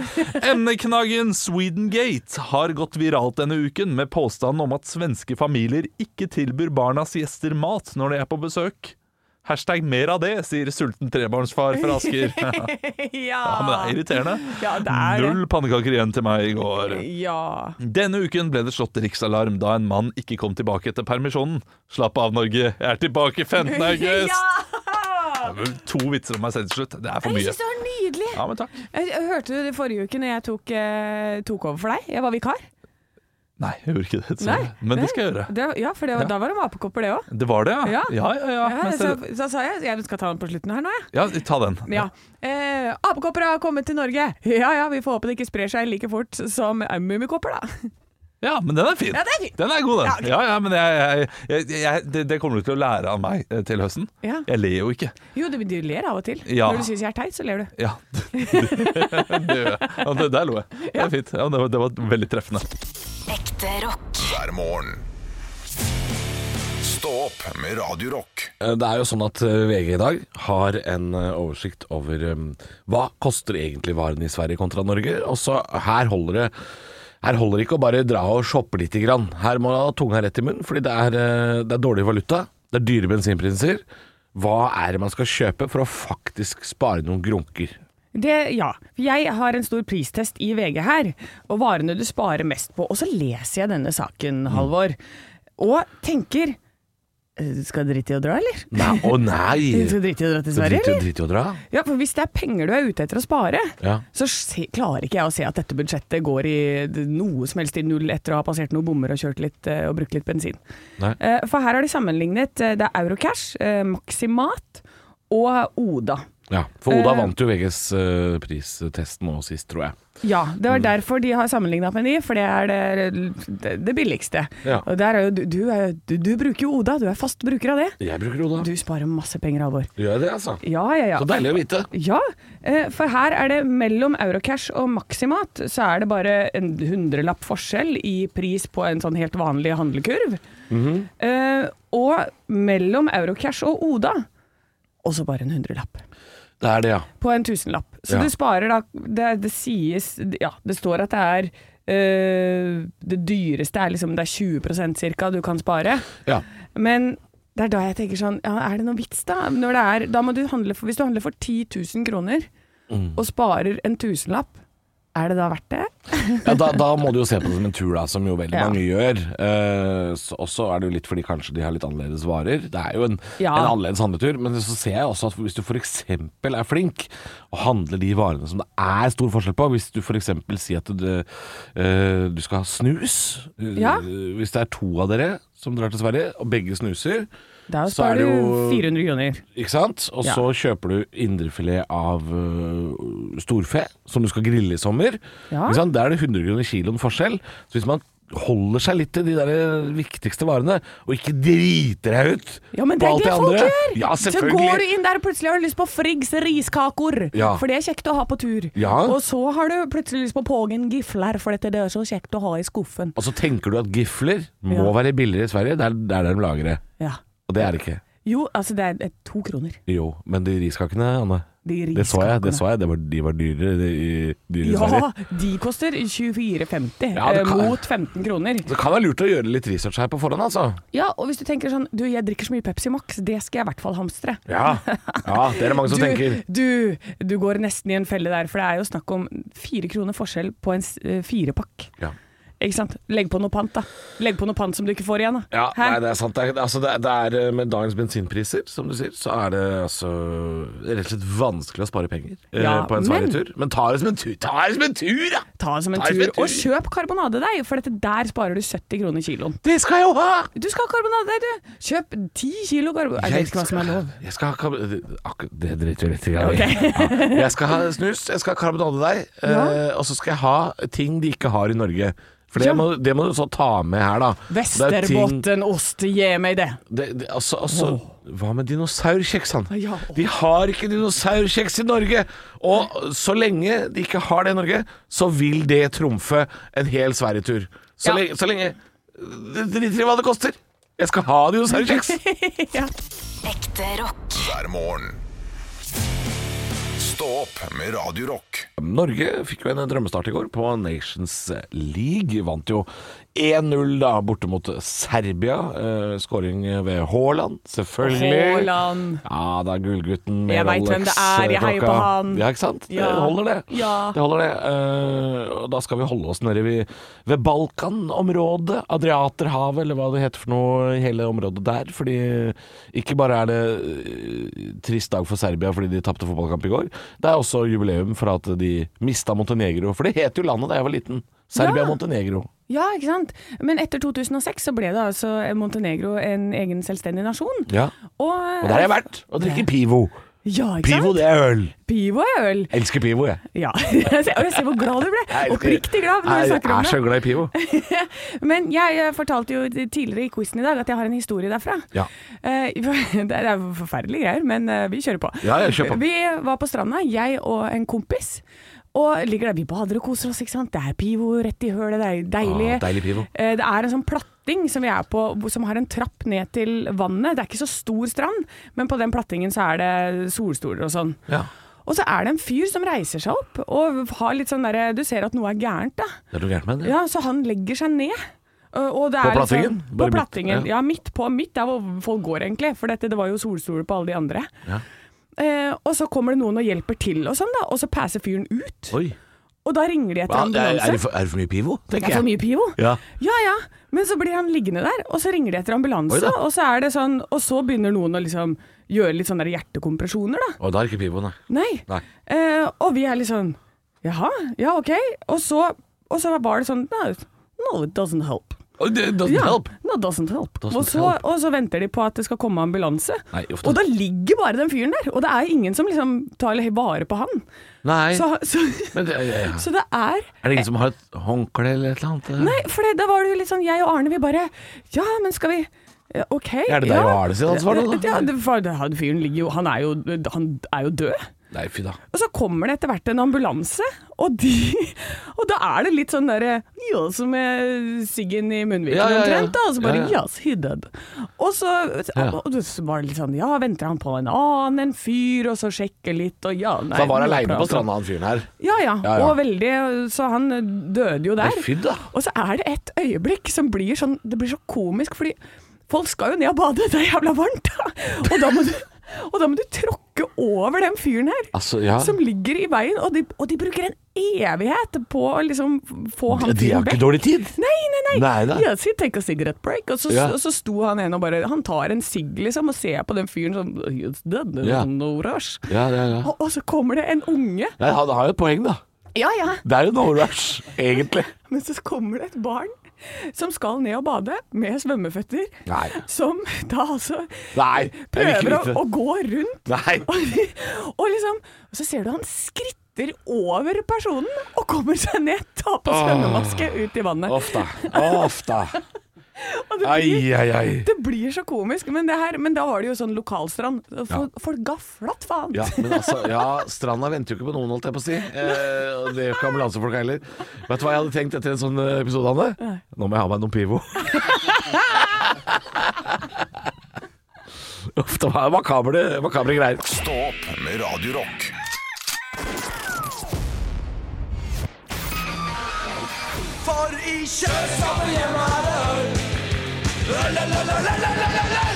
S6: Emneknaggen Swedengate har gått viralt denne uken med påstanden om at svenske familier ikke tilbyr barnas gjester mat når de er på besøk. Hashtag mer av det, sier sulten trebarnsfar fra Asker. Ja,
S4: ja.
S6: men det er irriterende.
S4: Ja, det er det.
S6: Null pannekaker igjen til meg i går.
S4: Ja.
S6: Denne uken ble det slått riksalarm da en mann ikke kom tilbake etter permisjonen. Slapp av, Norge. Jeg er tilbake 15. august.
S4: Ja!
S6: To vitser om meg selv til slutt. Det er for
S4: Jeg
S6: mye.
S4: syns det var nydelig!
S6: Ja, men takk.
S4: Jeg, jeg hørte du det forrige uke når jeg tok, eh, tok over for deg? Jeg var vikar.
S6: Nei, jeg gjorde ikke det.
S4: Nei,
S6: sorry. Men det skal jeg gjøre.
S4: Det, ja, for det, var-
S6: Ja.
S4: da var det apekopper, det òg.
S6: Det var det, ja?
S4: Ja.
S6: Ja, ja, ja.
S4: Ja,
S6: Mens
S4: så,
S6: jeg-
S4: så sa jeg jeg skal ta den på slutten her nå, jeg.
S6: ja ta den.
S4: Ja. Eh, apekopper har kommet til Norge! Ja ja, vi får håpe det ikke sprer seg like fort som eh, mummikopper, da.
S6: Ja, men den er fin.
S4: Ja, den er fin.
S6: Den er god, den.
S4: Ja,
S6: Ja,
S4: ok.
S6: ja, men jeg, jeg, jeg, jeg, det, det kommer du til å lære av meg eh, til høsten.
S4: Ja.
S6: Jeg ler jo ikke.
S4: Jo, du, du ler av og til.
S6: Ja.
S4: Når du syns jeg er teit, så ler du.
S6: Ja, det, det gjør jeg. Ja, det, der lo jeg. Det er fint. Ja, det, var, det var veldig treffende.
S7: Ekte rock.
S2: hver morgen. Stå opp med Radio Rock.
S3: Eh, Det er jo sånn at eh, VG i dag har en eh, oversikt over eh, hva koster egentlig varene i Sverige kontra Norge. Og så her holder det her holder det ikke å bare dra og shoppe lite grann. Her må man ha tunga rett i munnen, fordi det er, eh, det er dårlig valuta. Det er dyre bensinpriser. Hva er det man skal kjøpe for å faktisk spare noen grunker?
S4: Det, ja. Jeg har en stor pristest i VG her, og varene du sparer mest på. Og så leser jeg denne saken,
S3: Mm.
S4: Halvor, og tenker eh, Skal drite i å dra, eller?
S3: Nei, å nei!
S4: Skal drite i å dra til
S3: Skal
S4: Sverige,
S3: drite-
S4: eller?
S3: drite i å dra?
S4: Ja, for hvis det er penger du er ute etter å spare,
S3: Ja.
S4: så se, klarer ikke jeg å se at dette budsjettet går i d- noe som helst i null etter å ha passert noen bommer og kjørt litt eh, og brukt litt bensin.
S3: Nei.
S4: Eh, For her har de sammenlignet eh, det er Eurocash, eh, Maximat og Oda.
S3: Ja, for Oda
S4: Eh.
S3: vant jo VGs eh, pristest nå sist, tror jeg.
S4: Ja, det
S3: Mm.
S4: var derfor de har sammenlignet med de, for det er det, det, det billigste.
S3: Ja.
S4: Og der er jo, du, du, er, du, du bruker jo Oda, du er fast bruker av det.
S3: Jeg bruker Oda.
S4: Du sparer masse penger, Halvor.
S3: Gjør jeg det, altså?
S4: Ja, ja, ja.
S3: Så deilig å vite.
S4: Ja, eh, for her er det mellom Eurocash og Maximat, så er det bare en hundrelapp forskjell i pris på en sånn helt vanlig handlekurv.
S3: Mhm.
S4: Eh, Og mellom Eurocash og Oda, også bare en hundrelapp.
S3: Det er det, ja.
S4: På en tusenlapp. Så
S3: Ja.
S4: du sparer da det, det sies Ja, det står at det er eh, Det dyreste er liksom Det er 20 cirka du kan spare.
S3: Ja.
S4: Men det er da jeg tenker sånn, ja, er det noe vits da? Når det er, da må du handle for, hvis du handler for 10 000 kroner,
S3: Mm.
S4: og sparer en tusenlapp, er det da verdt det?
S3: ja da, da må du jo se på det som en tur, da, som jo veldig
S4: Ja.
S3: mange gjør. Eh, så- Og så er det jo litt fordi kanskje de har litt annerledes varer. Det er jo en,
S4: Ja.
S3: en annerledes handletur. Men så ser jeg også at hvis du f.eks. er flink og handler de varene som det er stor forskjell på Hvis du f.eks. sier at du, eh, du skal ha snus eh,
S4: Ja.
S3: Hvis det er to av dere som drar til Sverige, og begge snuser,
S4: Da
S3: Så er
S4: sparer
S3: det
S4: du
S3: jo-
S4: 400 kroner.
S3: ikke sant? Og
S4: Ja.
S3: så kjøper du indrefilet av øh, storfe, som du skal grille i sommer.
S4: Ja.
S3: Ikke sant? Der er det 100 kroner kiloen forskjell. Så hvis man holder seg litt til de der viktigste varene, og ikke driter deg ut
S4: Ja, men det
S3: på
S4: er
S3: alt
S4: det folk
S3: andre
S4: gjør!
S3: Ja,
S4: så går du
S3: selvfølgelig!
S4: inn der og plutselig har du lyst på Friggs riskakor,
S3: Ja.
S4: for det er kjekt å ha på tur.
S3: Ja.
S4: Og så har du plutselig lyst på Pågen gifler, for dette det er så kjekt å ha i skuffen.
S3: Og så tenker du at gifler må
S4: Ja.
S3: være billigere i Sverige. Det er det er der de lager det.
S4: Ja.
S3: Og det er det ikke.
S4: Jo, altså det er eh, to kroner.
S3: Jo, men de riskakene, Anne
S4: De
S3: Det så jeg, det
S4: riskakene.
S3: så jeg. Det var, de var dyrere, de, dyrere i Sverige.
S4: Ja, de koster 24,50
S3: Ja, det
S4: eh,
S3: kan- Altså-
S4: mot 15 kroner.
S3: Så Det kan være lurt å gjøre litt research her på forhånd, altså.
S4: Ja, og hvis du tenker sånn Du, jeg drikker så mye Pepsi Max, det skal jeg i hvert fall hamstre.
S3: Ja, ja det er det mange som
S4: Du,
S3: tenker.
S4: du, du går nesten i en felle der, for det er jo snakk om fire kroner forskjell på en s- eh, firepakk.
S3: Ja.
S4: Ikke sant? Legg på noe pant, da. Legg på noe pant som du ikke får igjen, da.
S3: Ja,
S4: Hæ?
S3: nei, det er sant. Det er, altså, det er, det er eh, Med dagens bensinpriser, som du sier, så er det altså rett og slett vanskelig å spare penger eh,
S4: Ja,
S3: på en
S4: men-
S3: sverigetur. Men ta det som en tur! Ta det som en tur, da!
S4: Ta det som en
S3: Ta det som en
S4: tur,
S3: tur.
S4: og kjøp karbonadedeig, for dette der sparer du 70 kroner kiloen.
S3: Det skal jeg jo ha!
S4: Du skal ha karbonadedeig, du! Kjøp 10 kilo karbonadedeig. Jeg vet ikke hva som er lov.
S3: Jeg skal ha kar- akkurat- Det driter vi litt i. Ja. Jeg skal ha snus, jeg skal ha karbonadedeig, eh, og så skal jeg ha ting de ikke har i Norge. For det,
S4: Ja.
S3: må, det må du så ta med her, da. Det er ting-
S4: Vesterbottenost, gi meg det!
S3: Det, det, altså, altså Hva med dinosaurkjeksene?
S4: Ja, åh.
S3: De har ikke dinosaurkjeks i Norge! Og så lenge de ikke har det i Norge, så vil det trumfe en hel sverigetur. Så,
S4: Ja.
S3: lenge, så lenge Det driter i hva det koster. Jeg skal ha dinosaurkjeks!
S7: Ekte rock.
S2: hver morgen. Stå opp med Radio Rock.
S3: Norge fikk jo en drømmestart i går på Nations League. Vant jo 1-0 da borte mot Serbia. Eh, Skåring ved Haaland, selvfølgelig.
S4: Haaland.
S3: Ja da, gullgutten med
S4: Jeg vet
S3: Rolex,
S4: hvem det er, jeg heier
S3: klokka.
S4: på han.
S3: Ja, ikke sant?
S4: Ja.
S3: Det holder, det.
S4: Ja.
S3: det holder det. Eh, og da skal vi holde oss nede ved, ved Balkanområdet, Adriaterhavet, eller hva det heter for noe, i hele området der. Fordi ikke bare er det eh, trist dag for Serbia fordi de tapte fotballkamp i går, det er også jubileum for at de mista Montenegro. For det het jo landet da jeg var liten. Serbia-Montenegro.
S4: Ja, ikke sant? Men etter 2006 så ble det altså Montenegro en egen selvstendig nasjon.
S3: Ja.
S4: Og,
S3: Og der har jeg vært, og drikker Pivo.
S4: Ja, ikke
S8: Pivo,
S4: sant?
S8: det er øl.
S4: Pivo er øl.
S8: Elsker pivo, jeg.
S4: Ja. Jeg ser, og jeg ser hvor glad du ble.
S8: elsker-
S4: Oppriktig glad når du
S3: Jeg
S4: snakker om
S3: er
S4: det.
S3: så glad i Pivo.
S4: Men jeg eh, fortalte jo tidligere i quizen i dag at jeg har en historie derfra.
S3: Ja.
S4: Eh, Det er jo forferdelige greier, men eh, vi kjører på.
S3: Ja, ja, kjør på.
S4: Vi var på stranda, jeg og en kompis. Og ligger der, Vi bader og koser oss, ikke sant. Det er pivo rett i hølet, det er deilig.
S3: Ah, deilig pivo.
S4: Eh, Det er en sånn platting som vi er på, hvor- som har en trapp ned til vannet. Det er ikke så stor strand, men på den plattingen så er det solstoler og sånn.
S3: Ja.
S4: Og så er det en fyr som reiser seg opp og har litt sånn derre Du ser at noe er gærent, da.
S3: Det er noe gærent med det.
S4: Ja, så han legger seg ned. Og og det
S3: På
S4: er
S3: plattingen?
S4: Liksom, på
S3: Bare midt-
S4: plattingen, ja. midt på. Midt der hvor folk går, egentlig. For dette, det var jo solstoler på alle de andre.
S3: Ja.
S4: Eh, og så kommer det noen og hjelper til, og sånn da, og så passer fyren ut.
S3: Oi.
S4: Og da ringer de etter
S3: Hva, er, er, det
S4: ambulanse.
S3: for, er det for mye Pivo,
S4: Det
S3: tenker
S4: er for
S3: jeg.
S4: mye pivo.
S3: Ja.
S4: Ja ja, men så blir han liggende der, og så ringer de etter
S3: Oi
S4: ambulanse,
S3: da.
S4: og så er det sånn Og så begynner noen å liksom gjøre litt sånne der hjertekompresjoner, da.
S3: Og da er det ikke Pivo, nei.
S4: Nei.
S3: Nei.
S4: Eh, og vi er litt sånn Jaha, ja ok. Og så, og så var det sånn No, no it doesn't help.
S3: Oi, det, det,
S4: Ja,
S3: help.
S4: No, doesn't help.
S3: Doesn't
S4: og, så,
S3: help.
S4: og så venter de på at det skal komme ambulanse.
S3: Nei, uff da.
S4: og da ligger bare den fyren der, og det er ingen som liksom tar vare på han.
S3: Nei,
S4: Så, så,
S3: men det, ja, ja.
S4: så det er
S3: er det ingen som har et håndkle eller et eller annet?
S4: Nei, for det, da var det jo litt sånn jeg og Arne, vi bare Ja, men skal vi ja, OK.
S3: Er det deg og Arne sitt ansvar nå, da?
S4: Ja, det, for, det- han fyren ligger jo Han er jo, han er jo død.
S3: Nei, fy da.
S4: Og så kommer det etter hvert en ambulanse, og, de, og da er det litt sånn derre Ja, som er siggen i munnviken
S3: Ja, ja, ja.
S4: omtrent, da. Og så bare
S3: Ja,
S4: ja,
S3: ja.
S4: yes, he did. Og så,
S3: Ja.
S4: og så var det litt sånn Ja, venter han på en annen, en fyr, og så sjekker litt, og ja nei,
S3: Så han var
S4: nå
S3: aleine
S4: prøver
S3: på
S4: han.
S3: stranda, han fyren her.
S4: Ja, ja
S3: Ja, ja.
S4: Og veldig Så han døde jo der.
S3: Nei, fy da.
S4: Og så er det et øyeblikk som blir sånn Det blir så komisk, fordi folk skal jo ned og bade, det er jævla varmt. Og da må du, og da må du tråkke over den fyren her.
S3: Altså, ja.
S4: Som ligger i veien, og de, og de bruker en evighet på å liksom få
S3: De
S4: han
S3: har
S4: fyren
S3: ikke
S4: vekk.
S3: dårlig tid.
S4: Nei, nei, nei.
S3: Nei, nei.
S4: Ja, så take a cigarette break. Og så,
S3: Ja.
S4: og så sto han ene og bare Han tar en sigg, liksom, og ser på den fyren sånn It's dead,
S3: Ja.
S4: no rush.
S3: Ja, ja, ja.
S4: Og, og så kommer det en unge.
S3: Nei, han har jo et poeng, da.
S4: Ja, ja.
S3: Det er jo no rush, egentlig.
S4: Men så kommer det et barn som skal ned og bade med svømmeføtter.
S3: Nei.
S4: Som da altså
S3: Nei, jeg vil ikke
S4: prøver å,
S3: vite det.
S4: å gå rundt.
S3: Nei.
S4: Og, og liksom og Så ser du han skritter over personen og kommer seg ned, tar på svømmemaske, ut i vannet.
S3: Ofte. Ofte.
S4: Og det
S3: Ai,
S4: blir,
S3: ai, ai.
S4: det blir så komisk. Men, det her, men da var det jo sånn lokalstrand. Og fo- Folk ga flatt faen.
S3: Ja, men altså, ja, stranda venter jo ikke på noen, holdt jeg på å si. Eh, og det gjør ikke ambulansefolka heller. Vet du hva jeg hadde tenkt etter en sånn eh, episode, Anne? Nå må jeg ha meg noen Pivo. Uff, det var makabre, makabre greier.
S2: Stå opp med Radio Rock.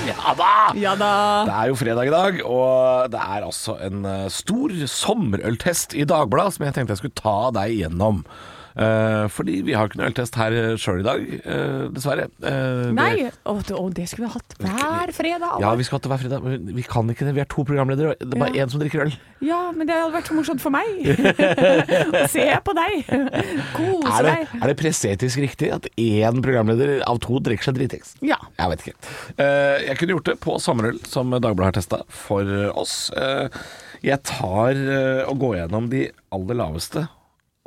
S3: Ja da!
S4: Ja da.
S3: Det er jo fredag i dag, og det er altså en eh, stor sommerøltest i Dagbladet som jeg tenkte jeg skulle ta deg igjennom. Eh, fordi vi har ikke noe øltest her sjøl i dag, eh, dessverre. Eh, vi-
S4: Nei, å, det, å, det skulle vi hatt hver fredag.
S3: Ja, vi skal til hver fredag, men vi kan ikke det. Vi er to programledere, og det er bare
S4: Ja.
S3: én som drikker øl.
S4: Ja, men det hadde vært så morsomt for meg. Å se på deg. Kose
S3: Er det,
S4: deg.
S3: er det presseetisk riktig at én programleder av to drikker seg dritings?
S4: Ja.
S3: Jeg vet ikke. Eh, jeg kunne gjort det på sommerøl, som Dagbladet har testa for oss. Eh, jeg tar eh, og går gjennom de aller laveste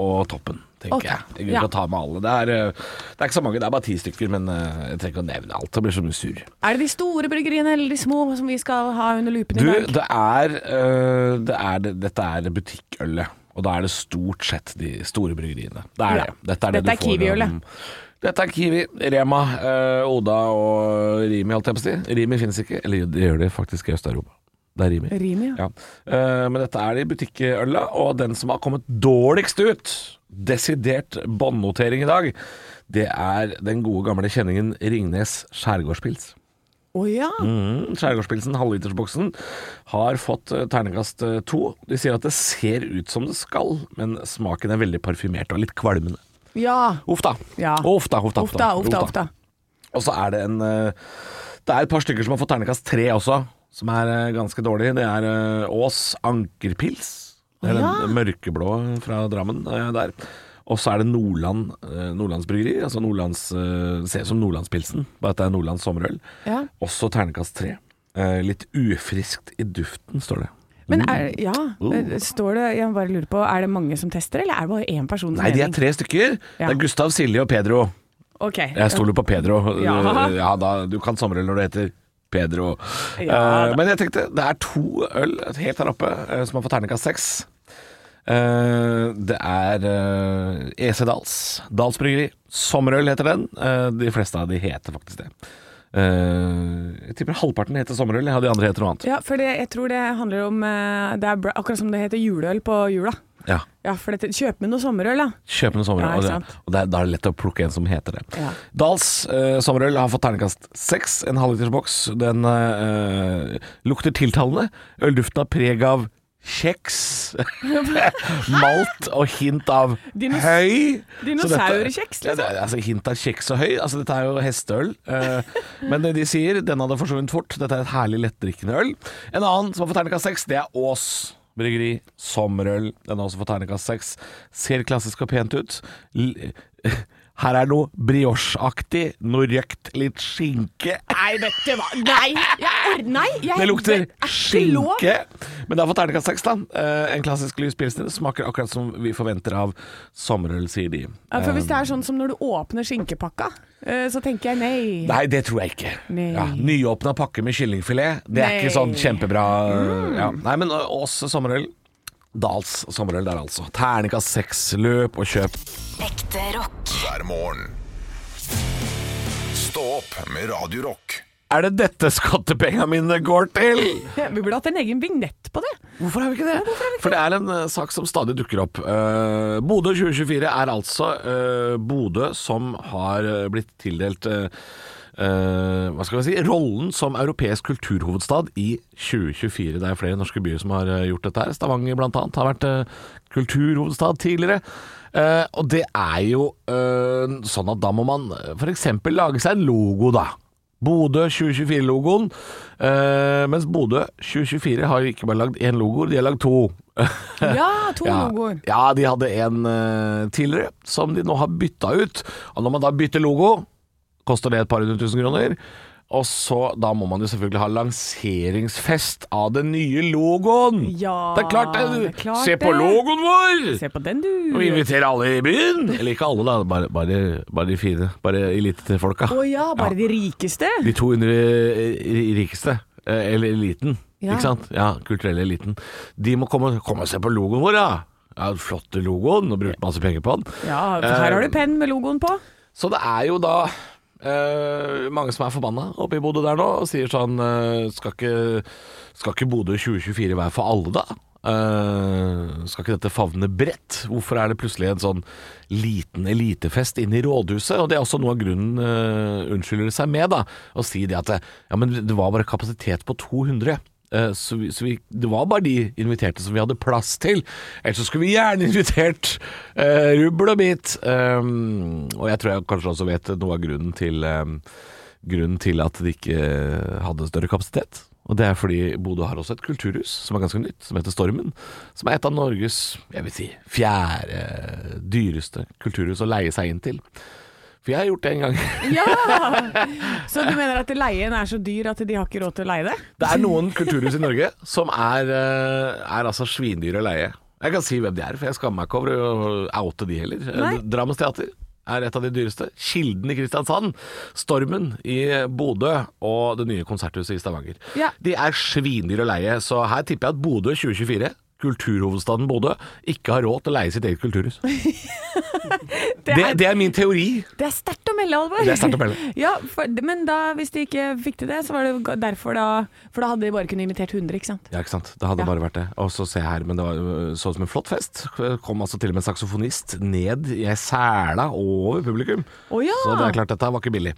S3: og toppen, tenker
S4: Ok,
S3: jeg. Jeg vil
S4: ja.
S3: ikke ta med alle. Det er, eh, det er ikke så mange, det er bare ti stykker, men eh, jeg trenger ikke å nevne alt. Det blir så mye sur.
S4: Er det de store bryggeriene eller de små som vi skal ha under lupen
S3: Du,
S4: i dag?
S3: det er, øh, det er det, Dette er butikkølet. Og da er det stort sett de store bryggeriene. Det er
S4: Ja.
S3: det. Dette er, det du
S4: Dette er
S3: får,
S4: Kiwi-ølet.
S3: um, Dette er Kiwi, Rema, øh, Oda og Rimi, holdt jeg på å si. Rimi finnes ikke. Eller jo, det gjør det faktisk i Øst-Europa. Det er Rimi.
S4: Rimi,
S3: Ja.
S4: ja.
S3: Eh, men dette er det i butikkøla, og den som har kommet dårligst ut, desidert båndnotering i dag, det er den gode gamle kjenningen Ringnes skjærgårdspils.
S4: Å ja.
S3: Mm, Skjærgårdspilsen, halvlitersboksen, har fått eh, terningkast eh, to. De sier at det ser ut som det skal, men smaken er veldig parfymert og litt kvalmende.
S4: Ja.
S3: Uff da.
S4: Ja.
S3: Uff da, uff da, uff
S4: Ofta,
S3: da,
S4: ofta,
S3: uff da.
S4: ofta.
S3: Og så er det en eh, Det er et par stykker som har fått terningkast tre også, som er eh, ganske dårlig. Det er eh, Ås Ankerpils. Det er
S4: Å, ja.
S3: den mørkeblå fra Drammen eh, der. Og så er det Nordland eh, Nordlandsbryggeri. Altså Nordlands, eh, det ser ut som Nordlandspilsen, bare at det er Nordlands sommerøl.
S4: Ja.
S3: Også terningkast tre. Eh, litt ufriskt i duften, står det.
S4: Men er, ja,
S3: Mm.
S4: står det Jeg bare lurer på, er det mange som tester, eller er det bare én person som
S3: Nei, de er
S4: mening?
S3: tre stykker.
S4: Ja.
S3: Det er Gustav, Silje og Pedro.
S4: Ok.
S3: Jeg stoler på Pedro. Eh,
S4: Ja.
S3: Ja, da, du kan sommerøl når det heter Pedro.
S4: Ja,
S3: Eh, men jeg tenkte, det er to øl helt her oppe eh, som har fått terningkast seks. Eh, det er eh, EC Dals. Dals Bryggeri. Sommerøl heter den. Eh, de fleste av de heter faktisk det. Eh, jeg tipper halvparten heter sommerøl, ja, de andre heter noe annet.
S4: Ja, for det, jeg tror det handler om eh, Det er bra, akkurat som det heter juleøl på jula.
S3: Ja,
S4: Ja, for dette, Kjøp med noe sommerøl, da.
S3: Kjøp noe
S4: Ja,
S3: sommerøl.
S4: ikke
S3: og
S4: sant.
S3: det- og det er, da er det lett å plukke en som heter det.
S4: Ja.
S3: Dals eh, sommerøl har fått terningkast seks, en halvlitersboks. Den eh, lukter tiltalende. Ølduften har preg av kjeks, malt og hint av
S4: Dinos-
S3: høy. Så dette-
S4: dinosaurkjeks, liksom.
S3: Ja, det er- altså, hint av kjeks og høy. Altså, dette er jo hesteøl. Eh, men de sier den hadde forsvunnet fort. Dette er et herlig lettdrikkende øl. En annen som har fått terningkast seks, det er Ås. Bryggeri, sommerøl, den har også fått terningkast seks. Ser klassisk og pent ut. L her er noe brioche-aktig, noe røkt, litt skinke.
S4: Nei, vet du hva. Nei! Jeg, or- nei jeg,
S3: Det lukter
S4: er ikke lov.
S3: skinke. Men det har fått terningkast seks, da. Eh, En klassisk lys pilsner. Smaker akkurat som vi forventer av sommerøl, sier de.
S4: Ja, for Hvis det
S3: Um.
S4: er sånn som når du åpner skinkepakka, eh, så tenker jeg nei.
S3: Nei, det tror jeg ikke.
S4: Nei.
S3: Ja, Nyåpna pakke med kyllingfilet. Det er
S4: Nei. Mm.
S3: ikke sånn kjempebra ja. Nei, men ø, Ås sommerøl. Dals sommerøl der, altså. Terningkast seks. Løp og kjøp.
S7: Ekte rock.
S2: hver morgen. Stå opp med Radio Rock.
S3: Er det dette skattepenga mine går til?
S4: Vi burde hatt en egen vignett på det.
S3: Hvorfor har vi ikke det? For det er en ø, sak som stadig dukker opp. Eh, Bodø 2024 er altså eh, Bodø som har ø, blitt tildelt eh, eh, hva skal vi si, rollen som europeisk kulturhovedstad i 2024. Det er flere norske byer som har eh, gjort dette her. Stavanger blant annet har vært eh, kulturhovedstad tidligere. Eh, og det er jo eh, sånn at da må man f.eks. lage seg en logo, da. Bodø 2024-logoen. Eh, mens Bodø 2024 har ikke bare lagd én logo, de har lagd to.
S4: Ja, to
S3: Ja.
S4: logoer.
S3: Ja, de hadde en eh, tidligere som de nå har bytta ut. Og når man da bytter logo, koster det et par hundre tusen kroner. Og så da må man jo selvfølgelig ha lanseringsfest av den nye logoen.
S4: Ja,
S3: det er klart det!
S4: det er klart
S3: Se på
S4: det.
S3: logoen vår!
S4: Se på den, du.
S3: Og invitere alle i byen! Eller ikke alle, da. Bare, bare, bare de fine. Bare elitefolka.
S4: Å ja, bare de rikeste.
S3: De 200 rikeste, eh, eller eliten,
S4: Ja.
S3: ikke sant? Ja, kulturelle eliten. De må komme, komme og se på logoen vår, ja. Ja, den flotte logoen, og brukt masse penger på den.
S4: Ja, for her
S3: Eh.
S4: har du penn med logoen på.
S3: Så det er jo da eh, mange som er forbanna oppe i Bodø der nå, og sier sånn eh, skal, ikke, skal ikke Bodø 2024 være for alle, da? Eh, skal ikke dette favne bredt? Hvorfor er det plutselig en sånn liten elitefest inne i rådhuset? Og det er også noe av grunnen eh, unnskylder seg med, da. Å si det at eh, ja, men det var bare kapasitet på 200. Eh, Så, vi, så vi, det var bare de inviterte som vi hadde plass til. Ellers så skulle vi gjerne invitert eh, rubbel og bit. Um, og jeg tror jeg kanskje også vet noe av grunnen til, um, grunnen til at de ikke hadde større kapasitet. Og det er fordi Bodø har også et kulturhus som er ganske nytt, som heter Stormen. Som er et av Norges jeg vil si, fjerde dyreste kulturhus å leie seg inn til. For jeg har gjort det en gang.
S4: Ja! Så du mener at leien er så dyr at de har ikke råd til å leie det?
S3: Det er noen kulturhus i Norge som er, eh, er altså svindyre å leie. Jeg kan si hvem de er, for jeg skammer meg ikke over å oute de heller.
S4: Nei.
S3: Eh, Drammens teater er et av de dyreste. Kilden i Kristiansand, Stormen i Bodø og det nye konserthuset i Stavanger.
S4: Ja.
S3: De er svindyre å leie, så her tipper jeg at Bodø 2024 Kulturhovedstaden Bodø ikke har råd til å leie sitt eget kulturhus.
S4: Det
S3: Det,
S4: er,
S3: det er min teori.
S4: det er sterkt å melde, Alvor.
S3: Det er sterkt å melde.
S4: Ja, for, men da, hvis de ikke fikk til det, så var det ga- derfor da For da hadde de bare kunnet invitert 100, ikke sant?
S3: Ja, ikke sant. Det hadde
S4: Ja.
S3: bare vært det. Og så se her, men det var øh, så ut som en flott fest. Kom altså til og med en saksofonist ned i ei sæla over publikum.
S4: Å ja!
S3: Så det er klart, dette var ikke billig.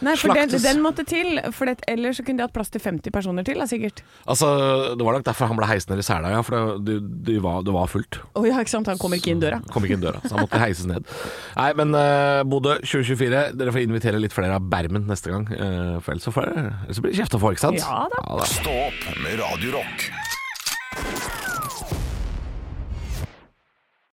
S4: Nei, for den,
S3: Slaktes.
S4: den måtte til, for det, ellers så kunne de hatt plass til 50 personer til, da, sikkert.
S3: Altså, det var nok derfor han ble heist ned i sæla, ja. For det, det, det, var, det var fullt.
S4: Å ja, ikke sant. Han kommer ikke inn døra.
S3: Kom ikke inn døra, så han måtte heises ned. Nei, men øh, Bodø 2024, dere får invitere litt flere av Bermen øh, neste gang. eh, for ellers så, får dere- ellers så blir det kjefta for, ikke sant?
S4: Ja da.
S2: Stå opp med Radio Rock.